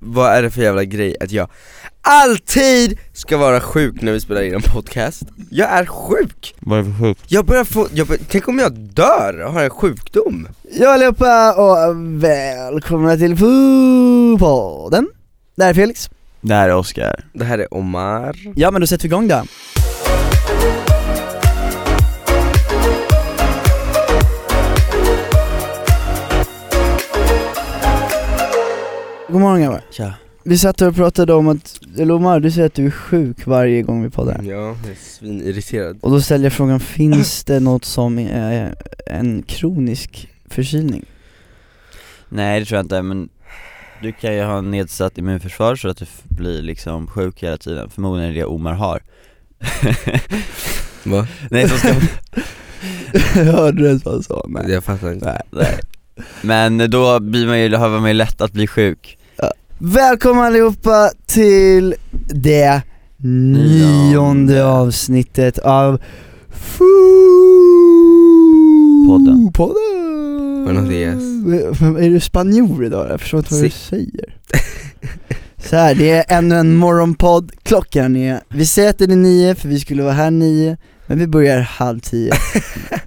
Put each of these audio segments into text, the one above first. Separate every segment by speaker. Speaker 1: vad är det för jävla grej att jag alltid ska vara sjuk när vi spelar in en podcast? Jag är sjuk!
Speaker 2: Vad är det för sjukt?
Speaker 1: Jag börjar få, jag bör, tänk om jag dör och har en sjukdom?
Speaker 3: Ja allihopa och välkomna till Foo-podden. Det här är Felix.
Speaker 2: Det här är Oscar.
Speaker 1: Det här är Omar
Speaker 3: Ja men då sätter vi igång då. God morgon grabbar.
Speaker 1: Tja
Speaker 3: Vi satt och pratade om att, eller Omar du säger att du är sjuk varje gång vi poddar.
Speaker 1: Ja, jag är svinirriterad
Speaker 3: Och då ställer jag frågan, finns det något som är en kronisk förkylning?
Speaker 2: Nej det tror jag inte, men du kan ju ha nedsatt immunförsvar så att du f- blir liksom sjuk hela tiden, förmodligen är det Omar har
Speaker 1: Va?
Speaker 2: Nej som ska,
Speaker 3: Hörde du ens vad han sa? Nej.
Speaker 1: Jag fattar inte
Speaker 3: Nej.
Speaker 2: nej Men då blir man ju, då har man ju lätt att bli sjuk
Speaker 3: Välkomna allihopa till det nionde avsnittet av
Speaker 2: Podden.
Speaker 3: Podden.
Speaker 1: Buenos dias.
Speaker 3: Är du spanjor idag? Jag förstår inte vad
Speaker 1: Si.
Speaker 3: du säger. Så här, det är ännu en morgonpodd. Klockan är, vi säger att den är nio för vi skulle vara här nio, men vi börjar halv tio.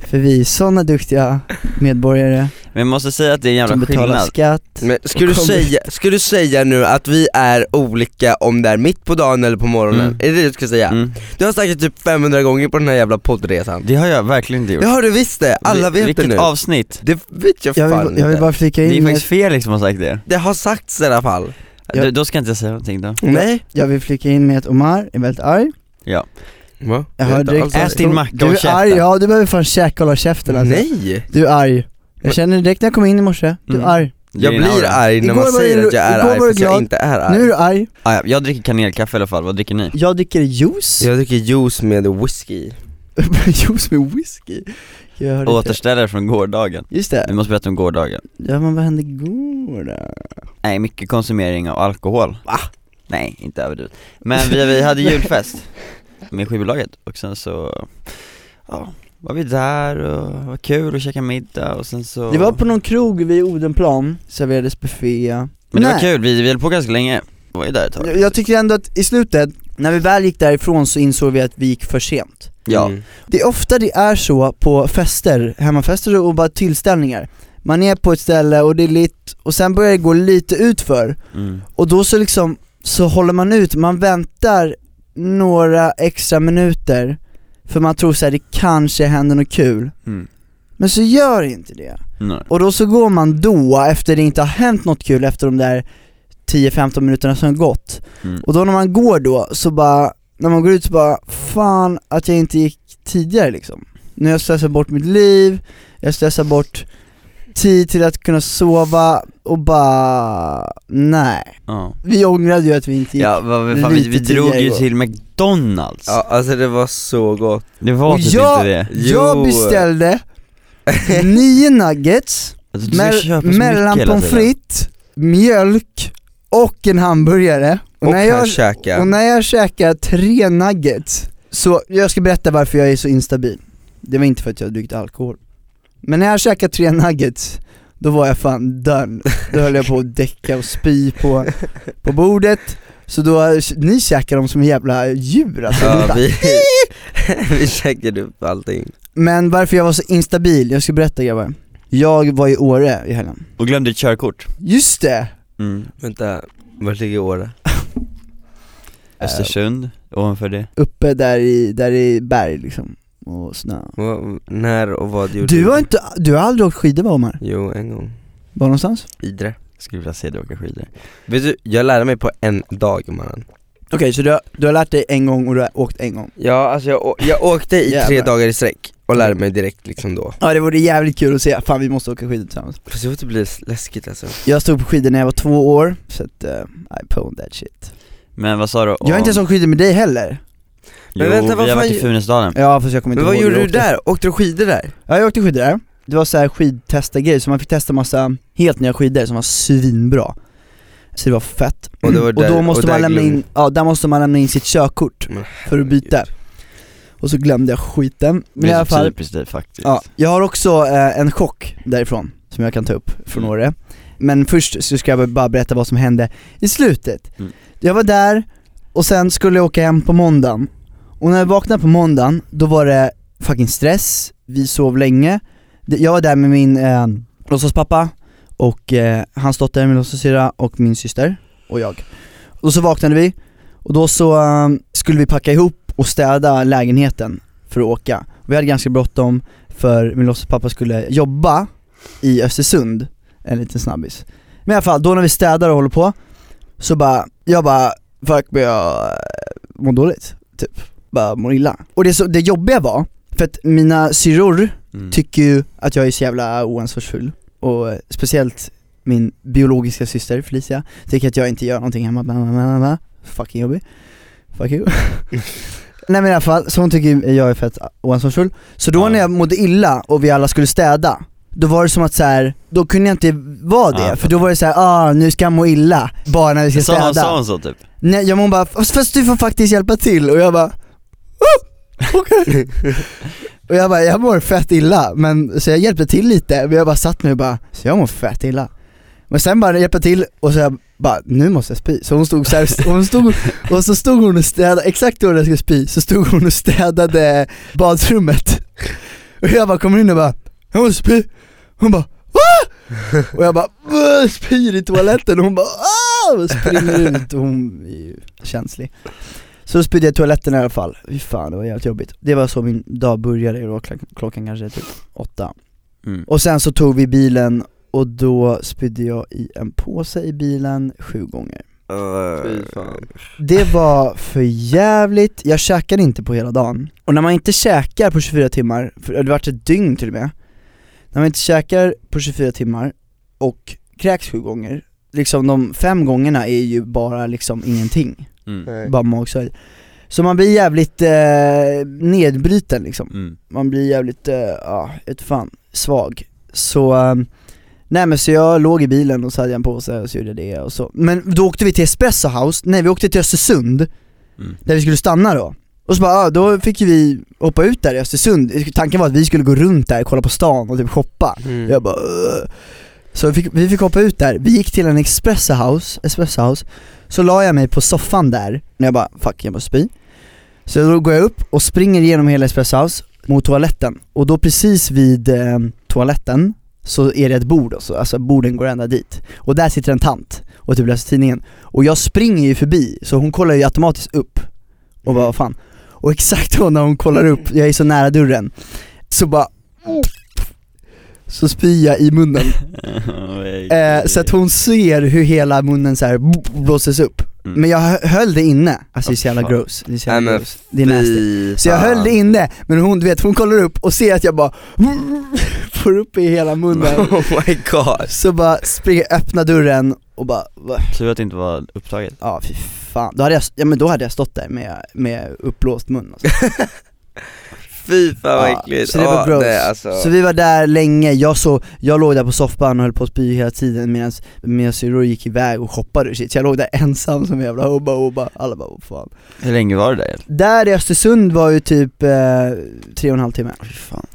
Speaker 3: för vi är sådana duktiga medborgare
Speaker 2: Men jag måste säga att det är en
Speaker 3: som
Speaker 2: jävla
Speaker 3: betalar
Speaker 2: skillnad
Speaker 3: skatt.
Speaker 1: Men ska du,
Speaker 3: Kommer-
Speaker 1: säga, ska du säga nu att vi är olika om det är mitt på dagen eller på morgonen?
Speaker 2: Mm.
Speaker 1: Är det det du ska säga?
Speaker 2: mm.
Speaker 1: Du har sagt det typ 500 gånger på den här jävla poddresan
Speaker 2: Det har jag verkligen inte gjort
Speaker 1: Det har du visst det, alla
Speaker 2: Vi-
Speaker 1: vet det
Speaker 2: Vilket
Speaker 1: nu
Speaker 2: avsnitt?
Speaker 1: Det vet jag,
Speaker 3: Jag
Speaker 1: fan
Speaker 3: vill, jag vill
Speaker 1: inte.
Speaker 3: bara flika
Speaker 2: Det är
Speaker 3: in,
Speaker 2: faktiskt Felix som har sagt det
Speaker 1: Det har sagts i alla fall
Speaker 3: Ja.
Speaker 2: Du- Då ska inte jag säga någonting då
Speaker 1: Nej?
Speaker 3: jag vill flika in med att Omar är väldigt arg
Speaker 2: Ja,
Speaker 1: Va? Alltså,
Speaker 3: Jag hör
Speaker 1: inte
Speaker 3: direkt
Speaker 1: alls
Speaker 2: Ät alltså, din macka
Speaker 3: Du
Speaker 2: och
Speaker 3: är
Speaker 2: käften. Mm.
Speaker 3: arg, ja du behöver fan käka och hålla käften alltså.
Speaker 1: Nej!
Speaker 3: Du är arg Jag känner det direkt när jag kom in i morse, du är
Speaker 2: Mm.
Speaker 3: arg
Speaker 2: det är
Speaker 1: Jag
Speaker 2: din
Speaker 1: blir
Speaker 2: aura.
Speaker 1: arg när
Speaker 3: Igår
Speaker 1: man
Speaker 3: var
Speaker 1: säger
Speaker 3: du-
Speaker 1: att jag är
Speaker 3: igår
Speaker 1: arg
Speaker 3: var du
Speaker 1: fast jag
Speaker 3: glad.
Speaker 1: inte är arg
Speaker 3: Nu är du arg,
Speaker 2: Ah, ja, jag dricker kanelkaffe i alla fall, vad dricker ni?
Speaker 3: jag dricker juice
Speaker 1: Jag dricker juice med whisky
Speaker 3: Juice med whisky jag hörde inte.
Speaker 2: Återställare från gårdagen
Speaker 3: Just det,
Speaker 2: Vi måste berätta om gårdagen
Speaker 3: ja men vad hände igår då?
Speaker 2: Nej, mycket konsumering av alkohol. Va? Nej, inte överdrivet. Men vi, vi hade julfest med skivbolaget och sen så, ja, var vi där och var kul och käka middag och sen så
Speaker 3: Det var på någon krog vid Odenplan, serverades buffé
Speaker 2: Men det var
Speaker 3: Nej.
Speaker 2: kul, vi, vi höll på ganska länge, Vi var ju där ett tag
Speaker 3: Jag, jag tycker ändå att i slutet, när vi väl gick därifrån så insåg vi att vi gick för sent
Speaker 2: Ja,
Speaker 1: Mm.
Speaker 3: Det är ofta det är så på fester, hemmafester och bara tillställningar. Man är på ett ställe och det är lite, och sen börjar det gå lite utför.
Speaker 2: mm.
Speaker 3: Och då så liksom, så håller man ut, man väntar några extra minuter för man tror så här, det kanske händer något kul.
Speaker 2: Mm.
Speaker 3: Men så gör inte det.
Speaker 2: Nej.
Speaker 3: Och då så går man då, efter det inte har hänt något kul, efter de där 10-15 minuterna som har gått.
Speaker 2: Mm.
Speaker 3: Och då när man går då, så bara, när man går ut så bara, fan att jag inte gick tidigare liksom. Nu har jag slösat bort mitt liv, jag slösar bort tid till att kunna sova och bara, nej.
Speaker 2: Ja,
Speaker 3: Vi ångrade ju att vi inte gick.
Speaker 2: ja vad, fan, vi, vi
Speaker 3: Lite
Speaker 2: drog ju
Speaker 3: tidigare
Speaker 2: till McDonalds,
Speaker 1: Ja, alltså det var så gott
Speaker 2: det var
Speaker 3: Och
Speaker 2: typ
Speaker 3: jag-
Speaker 2: inte det
Speaker 1: Jo.
Speaker 3: Jag beställde nio nuggets,
Speaker 2: alltså, du ska köpa så
Speaker 3: mel-
Speaker 2: mycket hela
Speaker 3: mellan
Speaker 2: tiden.
Speaker 3: pommes frites, mjölk och en hamburgare.
Speaker 1: och,
Speaker 3: när
Speaker 1: här
Speaker 3: jag,
Speaker 1: käka
Speaker 3: Och när jag käkar tre nuggets, så jag ska berätta varför jag är så instabil. Det var inte för att jag har druckit alkohol. Men när jag käkar tre nuggets, då var jag fan done. Då höll jag på att däcka och spy på, på bordet. Så då, ni käkar dem som jävla djur alltså. Ni
Speaker 1: Ja
Speaker 3: bara-
Speaker 1: vi, vi käkade upp allting
Speaker 3: Men varför jag var så instabil, jag ska berätta grabbar. Jag var i Åre i helgen.
Speaker 2: Och glömde ditt körkort
Speaker 3: Just det!
Speaker 2: mm.
Speaker 1: Vänta, vart ligger Åre?
Speaker 3: Äh.
Speaker 2: Östersund, ovanför det
Speaker 3: Uppe där i, där i berg liksom, och snö.
Speaker 1: Vad- När och vad gjorde
Speaker 3: Du har inte, du har aldrig åkt skidor va Omar?
Speaker 1: Jo, en gång
Speaker 3: Var någonstans?
Speaker 1: Idre
Speaker 2: Skulle vilja se dig åka skidor
Speaker 1: Vet du, jag lärde mig på en dag mannen
Speaker 3: Okej, så du har, du har lärt dig en gång och du har åkt en gång?
Speaker 1: Ja alltså jag, å- jag åkte i tre
Speaker 3: Jävlar. Mm.
Speaker 1: dagar i sträck och lärde mig direkt liksom då
Speaker 3: Ja det vore jävligt kul att se, fan vi måste åka skidor tillsammans
Speaker 1: Fast jag tyckte det blev läskigt alltså
Speaker 3: Jag stod på skidor när jag var två år, så att eh, I pwned that shit
Speaker 2: Men vad sa du?
Speaker 3: Jag har inte ens
Speaker 2: om-
Speaker 3: åkt skidor med dig heller
Speaker 2: Jo,
Speaker 1: Men vänta, vad
Speaker 2: vi har
Speaker 1: fan
Speaker 2: varit i
Speaker 1: ju-
Speaker 2: Funäsdalen
Speaker 3: Ja fast jag kommer inte
Speaker 1: Men vad
Speaker 3: ihåg hur
Speaker 1: gjorde
Speaker 3: jag
Speaker 1: du
Speaker 3: åkte.
Speaker 1: där? Åkte du skidor där?
Speaker 3: Ja jag åkte skidor där, det var så här skidtestargrejer så man fick testa massa helt nya skidor som var svinbra Så det var fett
Speaker 1: Och det var där-
Speaker 3: och då måste
Speaker 1: och där
Speaker 3: man lämna
Speaker 1: glömde-
Speaker 3: in, ja där måste man lämna in sitt körkort
Speaker 1: Men
Speaker 3: för att byta
Speaker 1: herregud.
Speaker 3: Och så glömde jag skiten,
Speaker 2: Det
Speaker 3: men i
Speaker 2: är
Speaker 3: alla
Speaker 2: så
Speaker 3: fall
Speaker 2: typiskt det faktiskt
Speaker 3: Ja, jag har också eh, en chock därifrån, som jag kan ta upp från
Speaker 2: Mm.
Speaker 3: Åre men först så ska jag bara berätta vad som hände i slutet.
Speaker 2: Mm.
Speaker 3: Jag var där, och sen skulle jag åka hem på måndagen. Och när jag vaknade på måndagen, då var det fucking stress, vi sov länge. Det- Jag var där med min eh, låtsaspappa, och eh, hans dotter, min låtsasyrra och min syster, och jag. Och så vaknade vi, och då så eh, skulle vi packa ihop och städa lägenheten för att åka. Vi hade ganska bråttom för min låtsaspappa skulle jobba i Östersund, en liten snabbis. Men i alla fall, då när vi städar och håller på, så bara, jag bara, fuck men jag eh, mår dåligt, typ. Bara mår illa. Och det, så, det jobbiga var, för att mina syrror
Speaker 2: Mm.
Speaker 3: tycker ju att jag är så jävla oansvarsfull och eh, speciellt min biologiska syster Felicia tycker att jag inte gör någonting hemma, bla, bla, bla, bla. fucking jobbig, fuck you Nej men i alla fall, så hon tycker jag är fett oansvarsfull. Så då
Speaker 2: Ja.
Speaker 3: när jag mådde illa och vi alla skulle städa, då var det som att så här, då kunde jag inte vara
Speaker 2: Ja,
Speaker 3: det,
Speaker 2: jag
Speaker 3: för då var det så här, ah nu ska jag må illa, bara när vi ska
Speaker 2: Sa hon,
Speaker 3: städa
Speaker 2: sa hon så typ?
Speaker 3: Nej, jag hon bara, fast, fast du får faktiskt hjälpa till och jag bara, "Ah, okej. och jag bara, jag mår fett illa, men så jag hjälpte till lite, men jag bara satt mig och bara, så jag mår fett illa. Men sen bara hjälpte till och så jag bara, nu måste jag spy. Så hon stod så här, hon stod, och så stod hon och städade, exakt då när jag skulle spy, så stod hon och städade badrummet. Och jag bara kommer in och bara, jag måste spy. Hon bara, Va? Och jag bara, "Åh, jag spyr i toaletten och hon bara, "Åh!" och springer ut och hon är ju känslig. Så då spydde jag i toaletten i alla fall, fy fan det var jävligt jobbigt. Det var så min dag började, det var klock- klockan kanske typ åtta.
Speaker 2: Mm.
Speaker 3: Och sen så tog vi bilen och då spydde jag i en påse i bilen sju gånger.
Speaker 2: Fy fan.
Speaker 3: Det var för jävligt. jag käkade inte på hela dagen. Och när man inte käkar på 24 timmar, för det vart ett dygn till och med, när man inte käkar på 24 timmar och kräks sju gånger, liksom de fem gångerna är ju bara liksom ingenting,
Speaker 2: Mm.
Speaker 1: Nej.
Speaker 3: bara magsår. Så man blir jävligt eh, nedbruten liksom,
Speaker 2: Mm.
Speaker 3: man blir jävligt, eh, ja, jag vet fan, svag. Så, eh, nej men så jag låg i bilen och så hade jag en påse och så gjorde jag det och så. Men då åkte vi till Espresso House, nej vi åkte till Östersund,
Speaker 2: Mm.
Speaker 3: där vi skulle stanna då. Och så bara, ja, då fick ju vi hoppa ut där i Östersund, tanken var att vi skulle gå runt där, kolla på stan och typ shoppa.
Speaker 1: Mm.
Speaker 3: Jag bara "Ugh." Så vi fick, vi fick hoppa ut där, vi gick till en espresso house, espresso house Så la jag mig på soffan där, när jag bara 'fuck, jag måste spy' Så då går jag upp och springer igenom hela espresso house mot toaletten Och då precis vid eh, toaletten så är det ett bord och så, alltså borden går ända dit Och där sitter en tant och typ läser tidningen Och jag springer ju förbi, så hon kollar ju automatiskt upp och bara vad fan Och exakt då när hon kollar upp, jag är så nära dörren, så bara så spyr jag i munnen. Eh, så att hon ser hur hela munnen så här blåses upp.
Speaker 2: Mm.
Speaker 3: Men jag hö- höll det inne, alltså det är så jävla
Speaker 2: Åh,
Speaker 3: gross, det är så
Speaker 1: Nej
Speaker 3: jävla
Speaker 1: men
Speaker 3: gross. Det är nasty.
Speaker 1: fy
Speaker 3: Så jag
Speaker 1: fan.
Speaker 3: höll det inne, men hon, du vet, hon kollar upp och ser att jag bara får upp i hela munnen.
Speaker 1: Oh my god
Speaker 3: Så bara springer, öppnar dörren och bara, va?
Speaker 2: Tur att det inte var upptaget.
Speaker 3: ja fy fan. Då hade jag, ja, men då hade jag stått där med, med uppblåst mun alltså.
Speaker 1: Fy fan vad
Speaker 3: Ja,
Speaker 1: äckligt
Speaker 3: Så det var
Speaker 1: Ja,
Speaker 3: bros.
Speaker 1: nej, alltså.
Speaker 3: Så vi var där länge, jag, så, jag låg där på soffan och höll på att spy hela tiden medan mina syrror gick iväg och shoppade och shit, så jag låg där ensam som en jävla hobba och bara, alla bara oh, fan
Speaker 2: Hur länge var det där egentligen?
Speaker 3: Där i Östersund var ju typ eh, tre och en halv timme,
Speaker 2: Fy fan.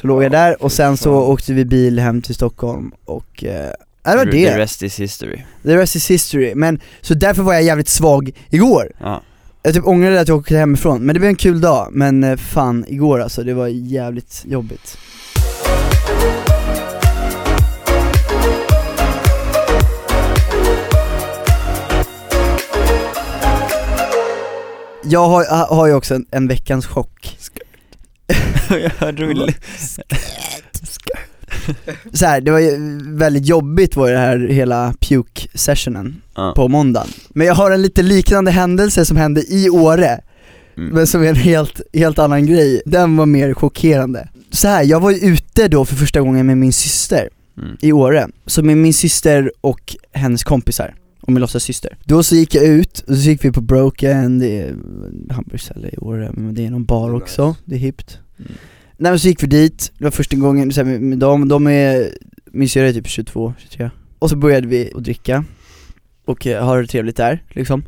Speaker 3: så låg jag där och sen så
Speaker 1: fan.
Speaker 3: åkte vi bil hem till Stockholm och eh, det var
Speaker 2: The
Speaker 3: det,
Speaker 2: rest is history.
Speaker 3: the rest is history, men så därför var jag jävligt svag igår
Speaker 2: Ja.
Speaker 3: Jag typ ångrade att jag åkte hemifrån, men det blev en kul dag, men eh, fan igår alltså, det var jävligt jobbigt Jag har, ha- har ju också en, en veckans chock
Speaker 2: jag hörde
Speaker 3: Rulle. så här, det var ju väldigt jobbigt var ju det här hela puke-sessionen
Speaker 2: Ja.
Speaker 3: på måndagen Men jag har en lite liknande händelse som hände i Åre
Speaker 2: Mm.
Speaker 3: Men som är en helt, helt annan grej, den var mer chockerande så här, jag var ju ute då för första gången med min syster
Speaker 2: Mm.
Speaker 3: i Åre, så med min syster och hennes kompisar, och min syster. Då så gick jag ut, och så gick vi på Broken, det är hamburgerställe i Åre, men det är någon bar
Speaker 1: Det är
Speaker 3: också,
Speaker 1: nice.
Speaker 3: det är hippt
Speaker 2: Mm.
Speaker 3: Nej men så gick vi dit, det var första gången, så här, med, med dem, de är, min syrra är typ 22, 23 Och så började vi att dricka, och eh, ha det trevligt där liksom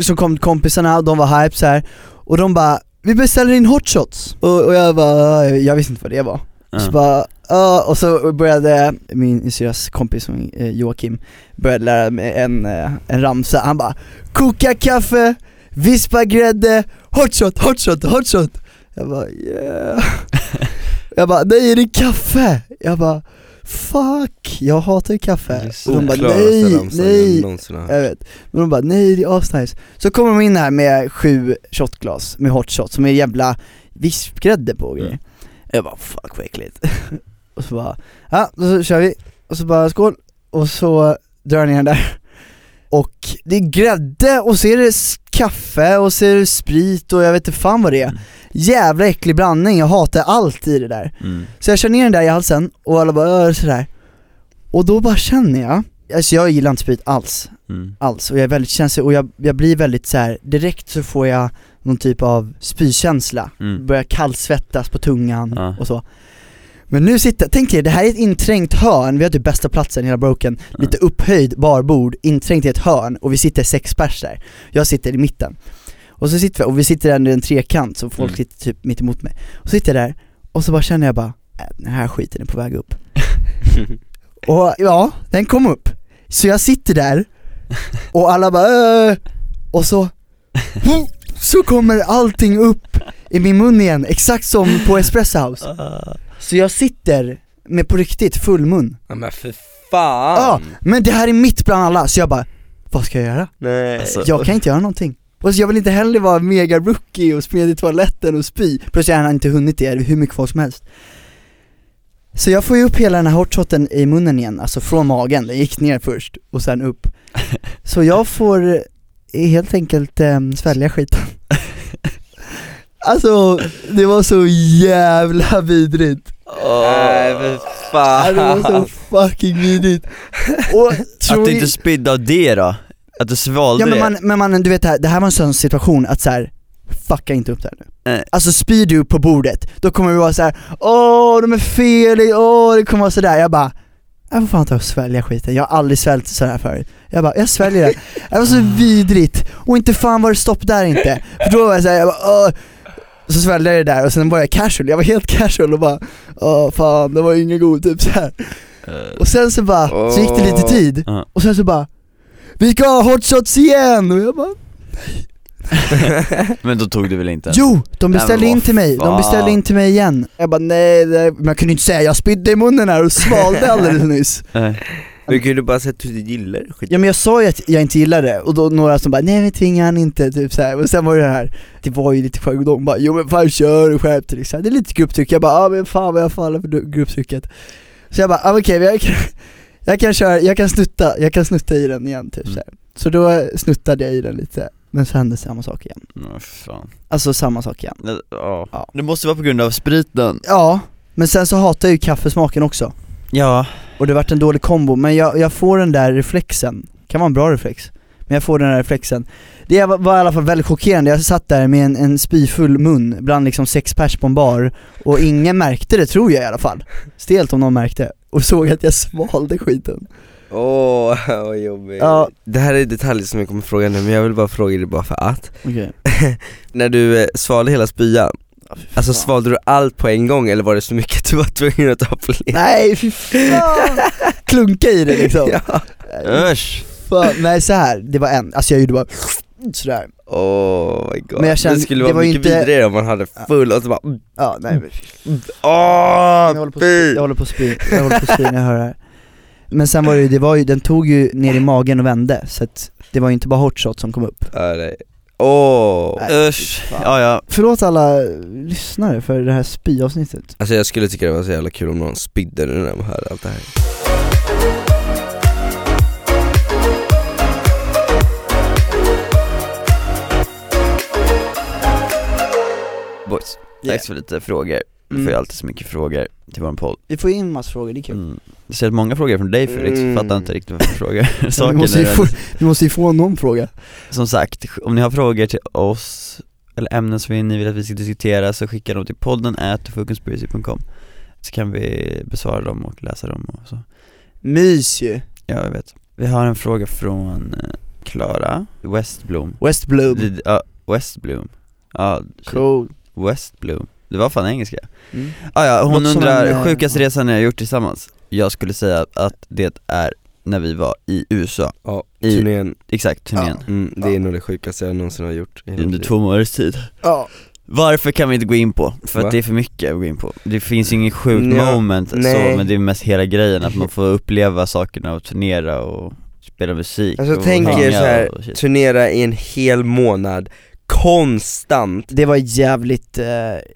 Speaker 3: Så kom kompisarna, de var hype så här och de bara 'Vi beställer in hot shots' och, och jag bara, jag visste inte vad det var
Speaker 2: Ja.
Speaker 3: så bara, ja, och så började min syrras kompis som, eh, Joakim, började lära mig en, eh, en ramsa, han bara Koka kaffe, vispa grädde, hot shot, hot shot, hot shot Jag bara yeah Jag bara nej är det kaffe? Jag bara fuck, jag hatar ju kaffe
Speaker 2: Just
Speaker 3: Och hon bara
Speaker 1: Oklaraste
Speaker 3: nej,
Speaker 1: ramsan
Speaker 3: nej,
Speaker 1: jag någonsin har hört.
Speaker 3: jag vet. Men de bara nej det är asnice. Så kommer de in här med sju shotglas med hot shot som är jävla vispgrädde på och grejer.
Speaker 2: Mm.
Speaker 3: Jag bara fuck vad äckligt. och så bara, ja och så kör vi. Och så bara skål. Och så drar jag ner den där. Och det är grädde och så är det s- kaffe och så är det sprit och jag vet inte fan vad det är.
Speaker 2: Mm.
Speaker 3: Jävla äcklig blandning, jag hatar allt i det där.
Speaker 2: Mm.
Speaker 3: Så jag kör ner den där i halsen och alla bara "Åh", sådär. Och då bara känner jag, alltså jag gillar inte sprit alls
Speaker 2: Mm.
Speaker 3: alls och jag är väldigt känslig och jag, jag blir väldigt så här. direkt så får jag någon typ av spykänsla,
Speaker 2: Mm.
Speaker 3: börjar kallsvettas på tungan
Speaker 2: Ja.
Speaker 3: och så Men nu sitter, tänk er, det här är ett inträngt hörn, vi har typ bästa platsen i hela Broken,
Speaker 2: Ja.
Speaker 3: lite upphöjd barbord, inträngt i ett hörn och vi sitter sex pers där Jag sitter i mitten Och så sitter vi, och vi sitter där i en trekant så folk
Speaker 2: Mm.
Speaker 3: sitter typ mitt emot mig Och sitter jag där, och så bara känner jag bara, "Äh, den här skiten är på väg upp och ja, den kom upp. Så jag sitter där och alla bara äh, och så så kommer allting upp i min mun igen, exakt som på Espresso House. Så jag sitter med på riktigt full mun.
Speaker 1: Ja, men för
Speaker 3: Ja,
Speaker 1: fan!
Speaker 3: men det här är mitt bland alla, så jag bara, vad ska jag göra?
Speaker 1: Nej.
Speaker 2: Alltså,
Speaker 3: Jag kan inte göra någonting. Och så jag vill inte heller vara mega rookie och springa till toaletten och spy, plus jag har inte hunnit det, hur mycket kvar som helst. Så jag får ju upp hela den här hotshoten i munnen igen, alltså från magen, den gick ner först och sen upp. Så jag får eh, helt enkelt eh, svälja skiten. Alltså, det var så jävla vidrigt.
Speaker 1: Nej för
Speaker 3: Ja, Det var så
Speaker 1: fan!
Speaker 3: fucking vidrigt. Och, tror
Speaker 2: Att du
Speaker 3: ni-
Speaker 2: inte spydde av det då? Att du svalde
Speaker 3: Ja men
Speaker 2: det?
Speaker 3: man, men man, du vet det här, det här var en sån situation att så här. Fucka inte upp det här nu.
Speaker 2: Nej.
Speaker 3: Alltså spyr du på bordet, då kommer du vara så här. åh de är fel, i- åh det kommer vara sådär. Jag bara, jag får fan ta och svälja skiten, jag har aldrig svällt så här förut. Jag bara, jag sväljer det. Det var så vidrigt, och inte fan var det stopp där inte. För då var jag såhär, jag bara, åh. Så sväljde jag det där och sen var jag casual, jag var helt casual och bara, åh fan det var ingen god typ så här.
Speaker 2: Eh,
Speaker 3: Och sen så bara, så gick det lite tid,
Speaker 2: Ja.
Speaker 3: och sen så bara Vi ska ha hot shots igen! Och jag bara
Speaker 2: Men då tog du väl inte?
Speaker 3: Jo! De
Speaker 2: men
Speaker 3: beställde in
Speaker 2: vad
Speaker 3: till mig, de
Speaker 2: fan.
Speaker 3: beställde in till mig igen Jag bara nej, nej. men jag kunde inte säga, jag spydde i munnen här och svalde alldeles nyss
Speaker 2: Eh,
Speaker 1: Du kunde bara sett hur du gillar det, skit.
Speaker 3: Ja men jag sa ju att jag inte gillade det, och då några som bara nej vi tvingar han inte, typ så här. och sen var det här Det var ju lite skönt, de bara jo men fan kör, skärp dig liksom. Det är lite grupptryck, jag bara ja ah, men fan vad jag faller för du- grupptrycket Så jag bara ah, men okej, men jag, kan, jag kan köra, jag kan snutta, jag kan snutta i den igen typ så här. Så då snuttade jag i den lite, men så hände samma sak igen
Speaker 2: åh, fan.
Speaker 3: Alltså samma sak igen
Speaker 2: Eh, ja.
Speaker 3: Ja.
Speaker 2: Det måste vara på grund av spriten
Speaker 3: Ja, men sen så hatar jag ju kaffesmaken också
Speaker 2: Ja
Speaker 3: Och det vart en dålig kombo, men jag, jag får den där reflexen, kan vara en bra reflex Men jag får den där reflexen Det var, var i alla fall väldigt chockerande, jag satt där med en, en spyfull mun bland liksom sex pers på en bar Och ingen märkte det tror jag i alla fall Stelt om någon märkte, och såg att jag svalde skiten
Speaker 1: Åh, vad jobbigt.
Speaker 3: Ja.
Speaker 1: Det här är detaljer som jag kommer fråga nu, men jag vill bara fråga dig bara för att.
Speaker 3: Okej
Speaker 1: När du eh, svalde hela spyan, alltså svalde du allt på en gång eller var det så mycket att du var tvungen att ta fler?
Speaker 3: Nej fy fan! Klunka i det liksom
Speaker 1: Ja.
Speaker 2: Usch!
Speaker 3: fan. Nej så här det var en, alltså jag gjorde bara sådär
Speaker 1: Oh my god.
Speaker 3: Men jag känner-
Speaker 1: det skulle
Speaker 3: det
Speaker 1: vara
Speaker 3: var ju
Speaker 1: mycket
Speaker 3: inte-
Speaker 1: vidrigare om man hade full och så bara
Speaker 3: Ja
Speaker 1: Mm.
Speaker 3: nej men
Speaker 1: Åh,
Speaker 3: Jag håller på att spy, jag håller på att spy, jag håller på att spy när jag hör det här Men sen var det ju, det var ju, den tog ju ner i magen och vände, så att det var ju inte bara hot shot som kom upp
Speaker 1: Ja, nej. Åh.
Speaker 3: Nej.
Speaker 2: Usch! Ja ja,
Speaker 3: Förlåt alla lyssnare för det här spyavsnittet
Speaker 1: Alltså jag skulle tycka det var så jävla kul om någon spydde nu när man hör allt det här
Speaker 2: boys
Speaker 3: Yeah.
Speaker 2: Dags för lite frågor, vi får
Speaker 3: Mm.
Speaker 2: ju alltid så mycket frågor till våran podd
Speaker 3: Vi får in massa frågor, det är kul
Speaker 2: mm. Jag ser att många frågor är från dig Felix,
Speaker 1: Mm.
Speaker 2: fattar inte riktigt varför du frågar
Speaker 3: vi,
Speaker 2: saker
Speaker 3: måste
Speaker 2: nu
Speaker 3: ju få, vi måste ju få någon fråga
Speaker 2: Som sagt, om ni har frågor till oss eller ämnen som ni vill att vi ska diskutera så skicka dem till podden at fullconspiracy.com Så kan vi besvara dem och läsa dem och så
Speaker 3: Mys ju,
Speaker 2: Ja, jag vet Vi har en fråga från eh, Klara Westblom
Speaker 3: West Bloom,
Speaker 2: Lid- Ja, Westblom Ja, shit.
Speaker 3: cool
Speaker 2: Westblom Det var fan engelska
Speaker 3: Mm.
Speaker 2: ah, ja, hon
Speaker 3: Låter som
Speaker 2: undrar,
Speaker 3: en, eh,
Speaker 2: sjukaste resan ni har gjort tillsammans? Jag skulle säga att det är när vi var i USA,
Speaker 1: Ja,
Speaker 2: I-
Speaker 1: turnén,
Speaker 2: exakt turnén,
Speaker 1: mm, det är nog det sjukaste jag någonsin har gjort i hela
Speaker 2: under
Speaker 1: mitt
Speaker 2: två månaders tid
Speaker 3: Ja,
Speaker 2: Varför kan vi inte gå in på? För
Speaker 1: Va?
Speaker 2: att det är för mycket att gå in på Det finns ju inget sjukt
Speaker 1: Nja,
Speaker 2: moment
Speaker 1: nej.
Speaker 2: så, men det är mest hela grejen att man får uppleva sakerna och turnera och spela musik
Speaker 1: Alltså,
Speaker 2: och
Speaker 1: tänk er
Speaker 2: hänga
Speaker 1: så här,
Speaker 2: och
Speaker 1: liv.
Speaker 2: shit.
Speaker 1: Turnera i en hel månad, konstant
Speaker 3: det var jävligt eh,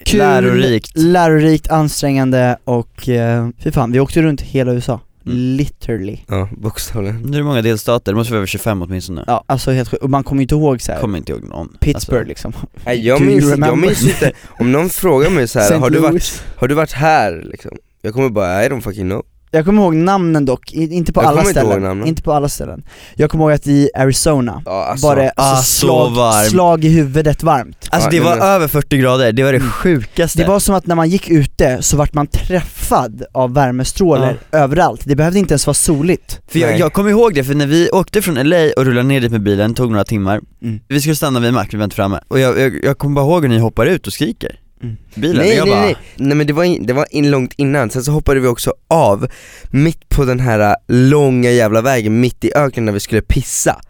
Speaker 3: kul,
Speaker 2: Lärorikt
Speaker 3: lärorikt, ansträngande och eh, fy fan, vi åkte runt hela USA,
Speaker 2: Mm.
Speaker 3: literally
Speaker 1: Ja, bokstavligen
Speaker 2: Nu är det många delstater, det måste vara över 25 åtminstone
Speaker 3: Ja, alltså helt sjukt, och man kommer ju inte ihåg så här.
Speaker 2: Kommer inte ihåg någon
Speaker 3: Pittsburgh
Speaker 2: Alltså,
Speaker 3: liksom
Speaker 1: Nej jag
Speaker 3: Do you
Speaker 1: minns, jag
Speaker 3: remember?
Speaker 1: minns inte, om någon frågar mig så här,
Speaker 3: St.
Speaker 1: har, du
Speaker 3: Louis.
Speaker 1: varit, har du varit här liksom? Jag kommer bara, I don't fucking know
Speaker 3: Jag kommer ihåg namnen dock, i- inte på
Speaker 1: Jag
Speaker 3: alla
Speaker 1: kommer inte ihåg
Speaker 3: ställen,
Speaker 1: namnen.
Speaker 3: inte, på alla ställen Jag kommer ihåg att i Arizona
Speaker 1: Ja alltså,
Speaker 3: var det
Speaker 2: ah,
Speaker 3: alltså,
Speaker 2: så
Speaker 3: slag,
Speaker 2: varmt.
Speaker 3: slag i huvudet varmt
Speaker 2: Alltså det
Speaker 1: Ja,
Speaker 2: var
Speaker 1: men-
Speaker 2: över 40 grader, det var det
Speaker 3: Mm.
Speaker 2: sjukaste
Speaker 3: Det var som att när man gick ute så vart man träffad av värmestrålar överallt, det behövde inte ens vara soligt
Speaker 2: För jag,
Speaker 1: Nej.
Speaker 2: jag kommer ihåg det, för när vi åkte från LA och rullade ner dit med bilen, tog några timmar
Speaker 3: Mm.
Speaker 2: Vi skulle stanna vid mack, vi var inte framme, och jag, jag, jag kommer bara ihåg hur ni hoppar ut och skriker
Speaker 3: Mm.
Speaker 2: Bilen, och
Speaker 1: Nej
Speaker 2: jag
Speaker 1: nej
Speaker 2: bara
Speaker 1: nej, nej men det var, in, det var in långt innan, sen så hoppade vi också av mitt på den här äh, långa jävla vägen mitt i öknen när vi skulle pissa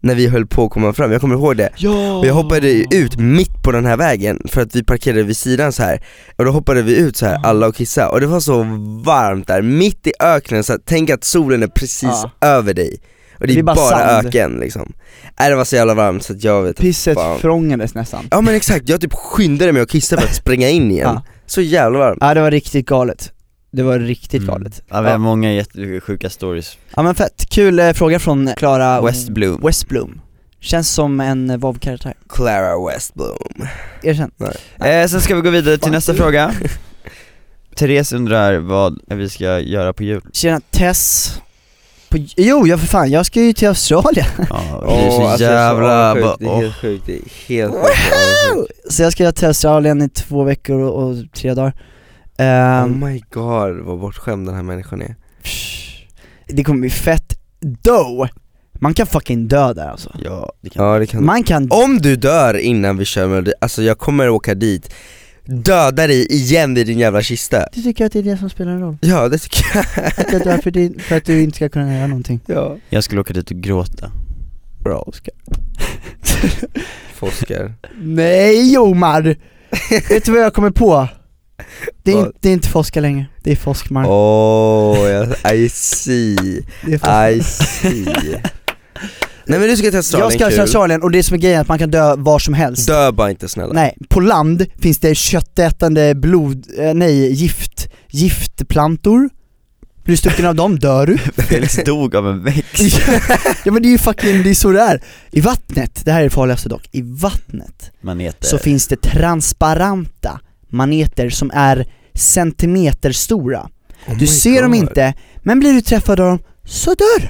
Speaker 1: När vi höll på att komma fram, jag kommer ihåg det
Speaker 3: Ja!
Speaker 1: Och jag hoppade ju ut mitt på den här vägen för att vi parkerade vid sidan så här Och då hoppade vi ut så här alla och kissa och det var så varmt där, mitt i öknen så här, tänk att solen är precis
Speaker 3: Ja.
Speaker 1: över dig Och det är, bara,
Speaker 3: sand.
Speaker 1: öken liksom Nej det var så jävla varmt så att jag vet
Speaker 3: Pisset
Speaker 1: Fan.
Speaker 3: frångades nästan
Speaker 1: Ja men exakt, jag typ skyndade mig att kissa för att springa in igen
Speaker 3: Ja.
Speaker 1: Så jävla varmt
Speaker 3: Ja det var riktigt galet, det var
Speaker 1: Mm.
Speaker 3: riktigt galet
Speaker 2: mm. Ja, vi har
Speaker 3: Ja.
Speaker 2: många jättesjuka stories
Speaker 3: Ja men fett, kul eh, fråga från Klara
Speaker 2: West Bloom
Speaker 3: Westblom Känns som en eh, vovkaraktär,
Speaker 1: Clara Westblom
Speaker 3: erkänn
Speaker 2: eh, Sen ska vi gå vidare till
Speaker 3: Fan.
Speaker 2: nästa fråga Therese undrar vad vi ska göra på jul
Speaker 3: Tjena Tess på, Jo, ja för fan, jag ska ju till Australien
Speaker 2: Ja, det är så jävla...
Speaker 1: det är
Speaker 2: bara-
Speaker 1: så avundsjukt, alltså, det är helt sjukt,
Speaker 2: åh.
Speaker 1: det är helt sjukt avundsjukt.
Speaker 3: Så jag ska till Australien i två veckor och, och tre dagar
Speaker 1: Oh
Speaker 3: Ehm,
Speaker 1: my god vad bortskämd den här människan är
Speaker 3: psh, Det kommer bli fett Då! Man kan fucking dö där alltså
Speaker 2: Ja, det kan
Speaker 1: Ja det kan
Speaker 3: Man kan
Speaker 1: Om du dör innan vi kör Melodi, alltså jag kommer åka dit, döda dig igen vid din jävla kista
Speaker 3: Du tycker att det är det som spelar en roll?
Speaker 1: Ja det tycker jag
Speaker 3: Att jag dör för, din, för att du inte ska kunna göra någonting
Speaker 1: Ja
Speaker 2: Jag skulle åka dit och gråta
Speaker 3: Bra Oskar
Speaker 1: Forskar
Speaker 3: Nej Omar! Vet du vad jag kommer på? Det är,
Speaker 1: Vad?
Speaker 3: inte, det är inte Foska längre, det är Foskmark
Speaker 1: Åh, jag- I see,
Speaker 3: det är Foskmark.
Speaker 1: I see Nej men du ska till
Speaker 3: Jag
Speaker 1: Australien,
Speaker 3: ska till
Speaker 1: kul
Speaker 3: Australien och det som är grejen är att man kan dö var som helst
Speaker 1: Dö bara inte snälla
Speaker 3: Nej, på land finns det köttätande blod, eh, nej gift, giftplantor Blir du stucken av dem dör du
Speaker 2: Felix dog av en växt
Speaker 3: Ja men det är ju fucking, det är så det är I vattnet, det här är det farligaste dock, i vattnet
Speaker 2: Maneter
Speaker 3: så finns det transparenta maneter som är centimeter stora
Speaker 1: Oh
Speaker 3: Du
Speaker 1: my
Speaker 3: ser dem
Speaker 1: God.
Speaker 3: inte, men blir du träffad av dem så dör du.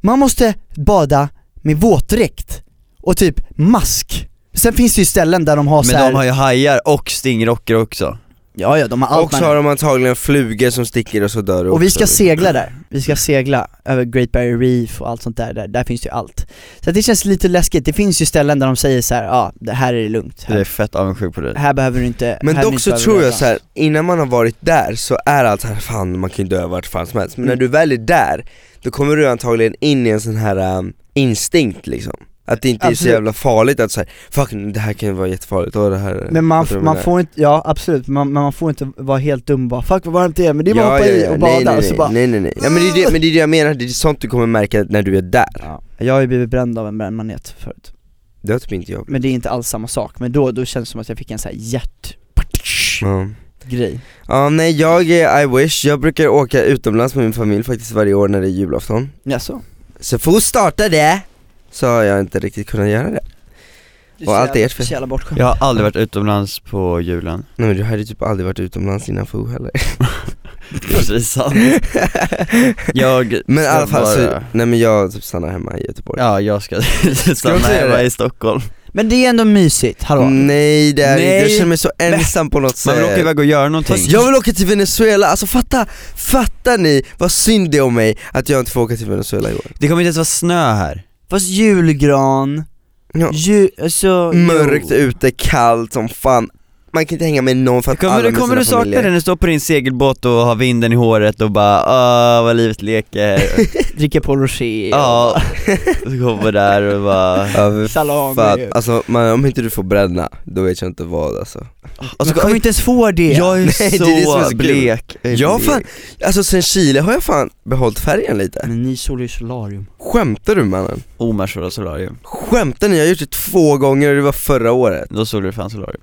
Speaker 3: Man måste bada med våtdräkt och typ mask. Sen finns det ju ställen där de har så
Speaker 2: Men
Speaker 3: här,
Speaker 2: de har ju hajar och stingrocker också
Speaker 3: ja ja de har allt
Speaker 1: Och så har
Speaker 3: man
Speaker 1: de antagligen flugor som sticker och så dör du
Speaker 3: och vi
Speaker 1: också.
Speaker 3: ska segla där, vi ska segla över Great Barrier Reef och allt sånt där, där, där finns det ju allt. Så att det känns lite läskigt, det finns ju ställen där de säger så här, ja det här är det lugnt,
Speaker 2: Jag är
Speaker 3: här,
Speaker 2: fett avundsjuk på dig
Speaker 3: här behöver du inte
Speaker 1: Men
Speaker 3: här
Speaker 1: dock
Speaker 3: behöver
Speaker 1: så
Speaker 3: du
Speaker 1: tror jag
Speaker 3: rädda."
Speaker 1: så här, innan man har varit där så är allt så här, fan man kan ju dö vart fan som helst, men
Speaker 3: Mm.
Speaker 1: när du väl är där, då kommer du antagligen in i en sån här um, instinkt liksom att det inte är
Speaker 3: Absolut.
Speaker 1: så jävla farligt att säga fuck det här kan ju vara jättefarligt, och det här
Speaker 3: Men man,
Speaker 1: jag tror
Speaker 3: man
Speaker 1: det.
Speaker 3: får inte, ja absolut, man, men man får inte vara helt dum bara 'fuck vad varmt det är' men det är bara att hoppa i och bada
Speaker 1: nej, nej,
Speaker 3: och
Speaker 1: nej,
Speaker 3: så bara
Speaker 1: nej nej nej, ja, men det är det, men det är det jag menar, det är sånt du kommer märka när du är där
Speaker 3: Ja. Jag har ju blivit bränd av en brännmanet förut,
Speaker 1: Det har typ inte jag
Speaker 3: men det är inte alls samma sak, men då, då känns det som att jag fick en sån här hjärtgrej
Speaker 1: Ja. ja nej jag är I wish, jag brukar åka utomlands med min familj faktiskt varje år när det är julafton
Speaker 3: Jaså?
Speaker 1: Så fort starta det så har jag inte riktigt kunnat göra det
Speaker 3: Du
Speaker 1: Och allt är ert
Speaker 3: så
Speaker 1: fel.
Speaker 3: jävla bortskämd
Speaker 2: Jag har aldrig varit utomlands på julen
Speaker 1: Nej men du hade typ aldrig varit utomlands innan FO heller
Speaker 2: Precis sant Jag
Speaker 1: Men i alla
Speaker 2: ska
Speaker 1: fall så,
Speaker 2: bara-
Speaker 1: nej men jag typ stannar hemma i Göteborg
Speaker 2: Ja jag ska stanna
Speaker 1: också göra
Speaker 2: hemma
Speaker 1: det?
Speaker 2: i Stockholm
Speaker 3: Men det är ändå mysigt, hallå?
Speaker 1: Mm, Nej det är
Speaker 2: Nej.
Speaker 1: inte. jag känner mig så ensam på något
Speaker 2: Man vill åka
Speaker 1: sätt
Speaker 2: iväg och göra någonting
Speaker 1: Fast jag vill åka till Venezuela, alltså fatta, fattar ni vad synd det är om mig att jag inte får åka till Venezuela i år?
Speaker 2: Det kommer inte ens vara snö här
Speaker 3: Fast julgran,
Speaker 1: Ja.
Speaker 3: ju, alltså,
Speaker 1: Mörkt
Speaker 3: jo.
Speaker 1: ute, kallt som fan, man kan inte hänga med någon för att
Speaker 2: Kommer,
Speaker 1: alla
Speaker 2: du,
Speaker 1: med
Speaker 2: kommer
Speaker 1: sina
Speaker 2: du sakna
Speaker 1: familjer.
Speaker 2: det när du står på din segelbåt och har vinden i håret och bara ah vad livet leker
Speaker 3: Dricker Paul Rocher,
Speaker 2: Ja, och så kommer där och bara
Speaker 1: Ja, för
Speaker 3: salami
Speaker 1: fan. Alltså man, om inte du får bränna, då vet jag inte vad alltså
Speaker 2: och
Speaker 3: Man
Speaker 2: så,
Speaker 3: kommer inte ens få det!
Speaker 2: Jag är
Speaker 1: Nej, det är
Speaker 2: så,
Speaker 1: det som är så kul.
Speaker 2: blek
Speaker 1: Jag har fan, alltså sen Chile har jag fan behållit färgen lite
Speaker 3: Men ni sålde ju solarium
Speaker 2: Mm.
Speaker 1: Skämtar du mannen?
Speaker 2: Omersor och Oh, solarium,
Speaker 1: Skämtar ni? Jag har gjort det två gånger och det var förra året
Speaker 2: då såg du fan solarium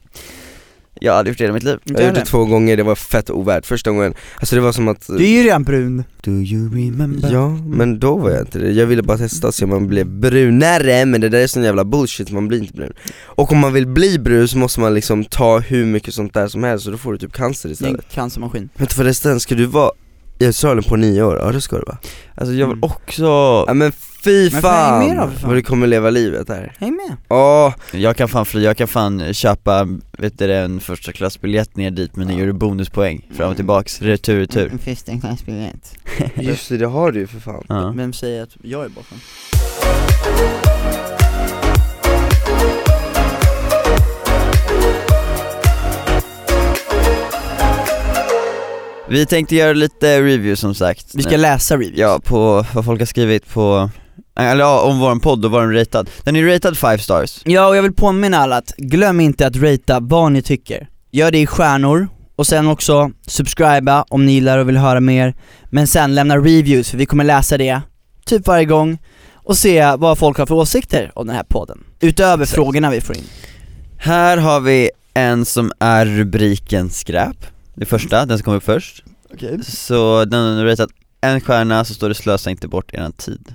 Speaker 2: Jag hade gjort det hela mitt liv
Speaker 1: Jag har gjort det två gånger, det var fett ovärt första gången Alltså det var som att,
Speaker 3: Du är ju redan brun
Speaker 2: Do you remember?
Speaker 1: ja men då var jag inte det Jag ville bara testa och se om man blev brunare, men det där är sån jävla bullshit, man blir inte brun Och om man vill bli brun så måste man liksom ta hur mycket sånt där som helst och då får du typ cancer
Speaker 3: Det är en
Speaker 1: istället
Speaker 3: cancermaskin
Speaker 1: Vänta förresten, ska du vara i Australien på nio år? Ja det ska du va?
Speaker 2: Alltså jag vill
Speaker 3: Mm.
Speaker 2: också,
Speaker 1: Ja men fy
Speaker 3: Men
Speaker 1: fan,
Speaker 3: vad är det mer av för fan?
Speaker 1: vad du kommer leva livet här
Speaker 3: Häng med!
Speaker 1: Åh,
Speaker 2: jag kan fan fly, jag kan fan köpa, vet du det, en första klassbiljett ner dit men nu gör du bonuspoäng fram
Speaker 3: Mm.
Speaker 2: och tillbaks, retur retur
Speaker 3: En fästingklassbiljett
Speaker 1: just det, det har du ju för fan
Speaker 2: Ja.
Speaker 3: Vem säger att jag är bakom?
Speaker 2: Vi tänkte göra lite review som sagt
Speaker 3: Vi ska läsa reviews
Speaker 2: Ja, på vad folk har skrivit på, eller ja, om våran podd och vad den ratad Den är ratad 5 stars
Speaker 3: Ja, och jag vill påminna alla att glöm inte att ratea vad ni tycker. Gör det i stjärnor, och sen också subscriba om ni gillar och vill höra mer. Men sen lämna reviews, för vi kommer läsa det typ varje gång och se vad folk har för åsikter om den här podden. Utöver
Speaker 2: Exakt.
Speaker 3: frågorna vi får in.
Speaker 2: Här har vi en som är rubriken skräp Det första, den som kom upp först
Speaker 3: Okej.
Speaker 2: Så den har ratat en stjärna så står det slösa inte bort eran tid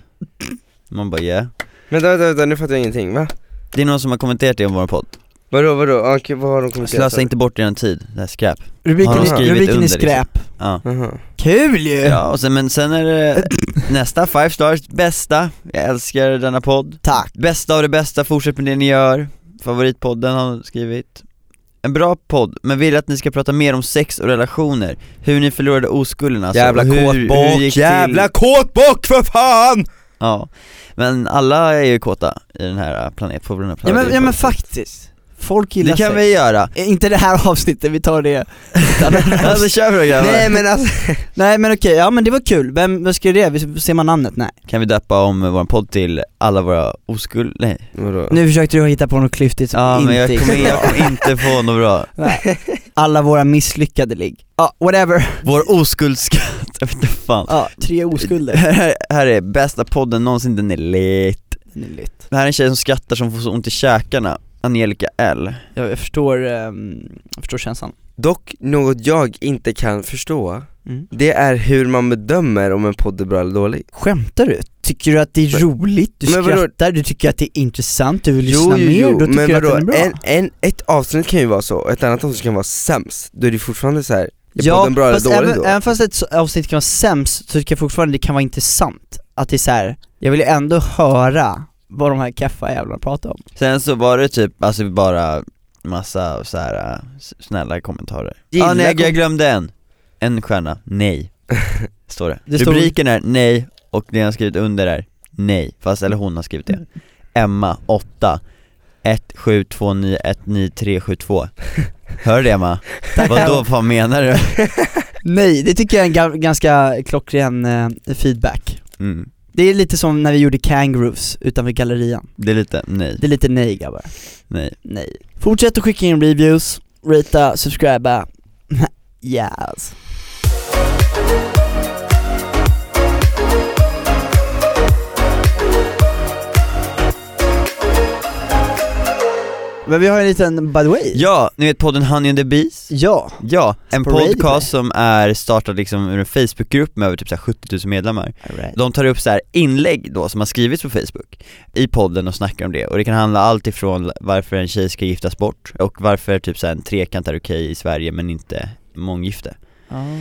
Speaker 2: Man bara yeah
Speaker 1: Vänta vänta vänta, nu fattar jag ingenting, va?
Speaker 2: Det är någon som har kommenterat det om våran podd
Speaker 1: Vadå vadå, Ah, okej vad har de kommit
Speaker 2: Slösa inte bort eran tid, det här skräp
Speaker 3: Rubriken,
Speaker 1: Har de
Speaker 3: är-
Speaker 2: skrivit
Speaker 3: rubriken är
Speaker 2: under
Speaker 3: skräp.
Speaker 2: Ja,
Speaker 1: Aha.
Speaker 3: Kul ju!
Speaker 2: ja och sen, men sen är det nästa, five stars, bästa, jag älskar denna podd
Speaker 3: Tack.
Speaker 2: Bästa av det bästa, fortsätt med det ni gör Favoritpodden har hon skrivit En bra podd, men vill att ni ska prata mer om sex och relationer Hur ni förlorade oskulden alltså
Speaker 1: Jävla
Speaker 2: och hur, hur
Speaker 1: kåtbock,
Speaker 2: gick
Speaker 1: jävla
Speaker 2: till.
Speaker 1: kåtbock för fan!
Speaker 2: Ja, men alla är ju kåta i den här planeten, på den här
Speaker 3: Ja
Speaker 2: planeten
Speaker 3: men, ja, men faktiskt. Folk gillar
Speaker 2: Det kan
Speaker 3: sex.
Speaker 2: vi göra!
Speaker 3: Eh, Inte det här avsnittet, vi tar det
Speaker 2: alltså kör vi då grabbar!
Speaker 1: Nej men alltså,
Speaker 3: Nej men okej, ja men det var kul. Vem, vad skrev det? Vi- Ser man namnet? Nej.
Speaker 2: Kan vi döpa om vår podd till alla våra oskuld... Nej,
Speaker 1: vadå?
Speaker 3: Nu försökte du hitta på något klyftigt som
Speaker 2: ja
Speaker 3: inte
Speaker 2: men jag
Speaker 3: gick
Speaker 2: kommer,
Speaker 3: bra.
Speaker 2: jag kommer inte få något bra
Speaker 3: Alla våra misslyckade ligg. Ja, whatever.
Speaker 2: Vår oskuldsskatt, jag vet inte fan
Speaker 3: Ja, tre oskulder.
Speaker 2: här, här är bästa podden någonsin, den är lit
Speaker 3: Nyligt.
Speaker 2: Det här är en tjej som skrattar som får så ont i käkarna, Angelica L
Speaker 3: Ja, jag förstår, ehm, jag förstår känslan.
Speaker 1: Dock, något jag inte kan förstå,
Speaker 3: Mm.
Speaker 1: det är hur man bedömer om en podd är bra eller dålig
Speaker 3: Skämtar du? Tycker du att det är
Speaker 1: Men-
Speaker 3: roligt? Du
Speaker 1: Men vadå?
Speaker 3: skrattar, du tycker att det är intressant, du vill lyssna mer, då tycker
Speaker 1: men
Speaker 3: du att
Speaker 1: vadå,
Speaker 3: den är bra.
Speaker 1: en, en, ett avsnitt kan ju vara så, och ett annat avsnitt kan vara sämst, då är det fortfarande så här. är
Speaker 3: ja,
Speaker 1: podden bra eller
Speaker 3: fast
Speaker 1: dålig
Speaker 3: även,
Speaker 1: då?
Speaker 3: även fast ett så- avsnitt kan vara sämst, så tycker jag fortfarande det kan vara intressant. Att det är så här. jag vill ju ändå höra vad de här keffa jävlarna pratar om.
Speaker 2: Sen så var det typ, alltså bara massa så här äh, s- snälla kommentarer
Speaker 1: Gilla
Speaker 2: ah, nej
Speaker 1: kom-
Speaker 2: jag glömde en! En stjärna, nej, står det,
Speaker 3: Det står-
Speaker 2: Rubriken är nej, och det jag har skrivit under är nej, fast eller hon har skrivit det Emma, 8 172919372 Hör du det Emma? Vadå, vad menar du?
Speaker 3: Nej, det tycker jag är en ga- ganska klockren eh, feedback.
Speaker 2: Mm,
Speaker 3: Det är lite som när vi gjorde Kangaroos utanför gallerian.
Speaker 2: det är lite, nej,
Speaker 3: Det är lite nej grabbar.
Speaker 2: nej
Speaker 3: Nej. Fortsätt att skicka in reviews, rata, subscriba. yes. Men vi har en liten by the way.
Speaker 2: Ja, ni vet podden Honey and the Bees?
Speaker 3: Ja.
Speaker 2: Ja, en
Speaker 3: På Radio Play.
Speaker 2: podcast som är startad liksom ur en Facebookgrupp med över typ så här 70 000 medlemmar.
Speaker 3: Alright.
Speaker 2: De tar upp så här inlägg då som har skrivits på Facebook i podden och snackar om det och det kan handla allt ifrån varför en tjej ska giftas bort och varför typ så här en trekant är okej i Sverige men inte månggifte.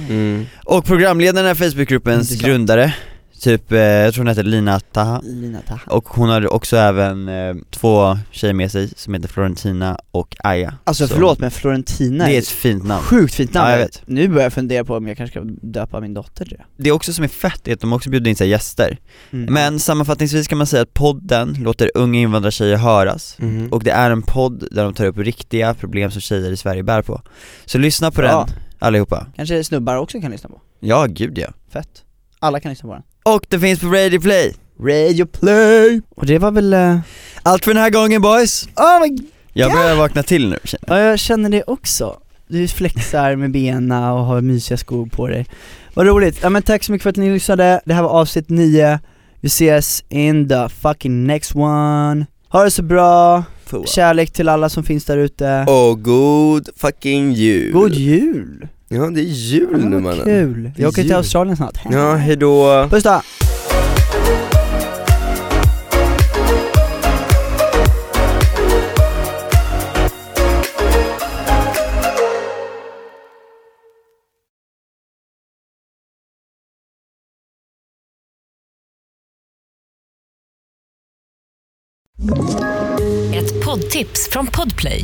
Speaker 1: Mm.
Speaker 3: Ah.
Speaker 2: Och programledaren i Facebookgruppens
Speaker 3: Intressant.
Speaker 2: grundare Typ, eh, jag tror hon heter Lina Taha
Speaker 3: Lina Taha.
Speaker 2: Och hon hade också även eh, två tjejer med sig som heter Florentina och Aya
Speaker 3: Alltså
Speaker 2: Så-
Speaker 3: förlåt men Florentina
Speaker 2: Det är
Speaker 3: är
Speaker 2: ett fint namn
Speaker 3: sjukt fint namn.
Speaker 2: Ja, jag vet.
Speaker 3: Nu börjar jag fundera på om jag kanske ska döpa min dotter till det.
Speaker 2: Det också som är fett är att de också bjuder in sig gäster
Speaker 3: Mm.
Speaker 2: Men sammanfattningsvis kan man säga att podden låter unga invandrartjejer höras
Speaker 1: Mhm.
Speaker 2: Och det är en podd där de tar upp riktiga problem som tjejer i Sverige bär på Så lyssna på
Speaker 3: Ja.
Speaker 2: den allihopa
Speaker 3: Kanske snubbar också kan lyssna på.
Speaker 2: Ja, gud ja
Speaker 3: Fett. Alla kan lyssna på den.
Speaker 2: Och den finns på Radio Play
Speaker 3: Radio play! Och det var väl... eh,
Speaker 2: Allt för den här gången boys!
Speaker 3: Oh my
Speaker 2: Jag börjar vakna till nu känner jag.
Speaker 3: Ja jag känner det också. Du flexar med bena och har mysiga skor på dig. Vad roligt, ja men tack så mycket för att ni lyssnade, det här var avsnitt 9 Vi ses in the fucking next one Ha det så bra, kärlek till alla som finns där ute
Speaker 1: Och god fucking jul
Speaker 3: God jul!
Speaker 1: Ja det är
Speaker 3: Ja,
Speaker 1: jul nu
Speaker 3: men
Speaker 1: mannen
Speaker 3: vad kul! Jag åker till
Speaker 1: Jul.
Speaker 3: Australien snart
Speaker 1: Ja hejdå
Speaker 3: Puss då!
Speaker 4: Ett poddtips från Podplay.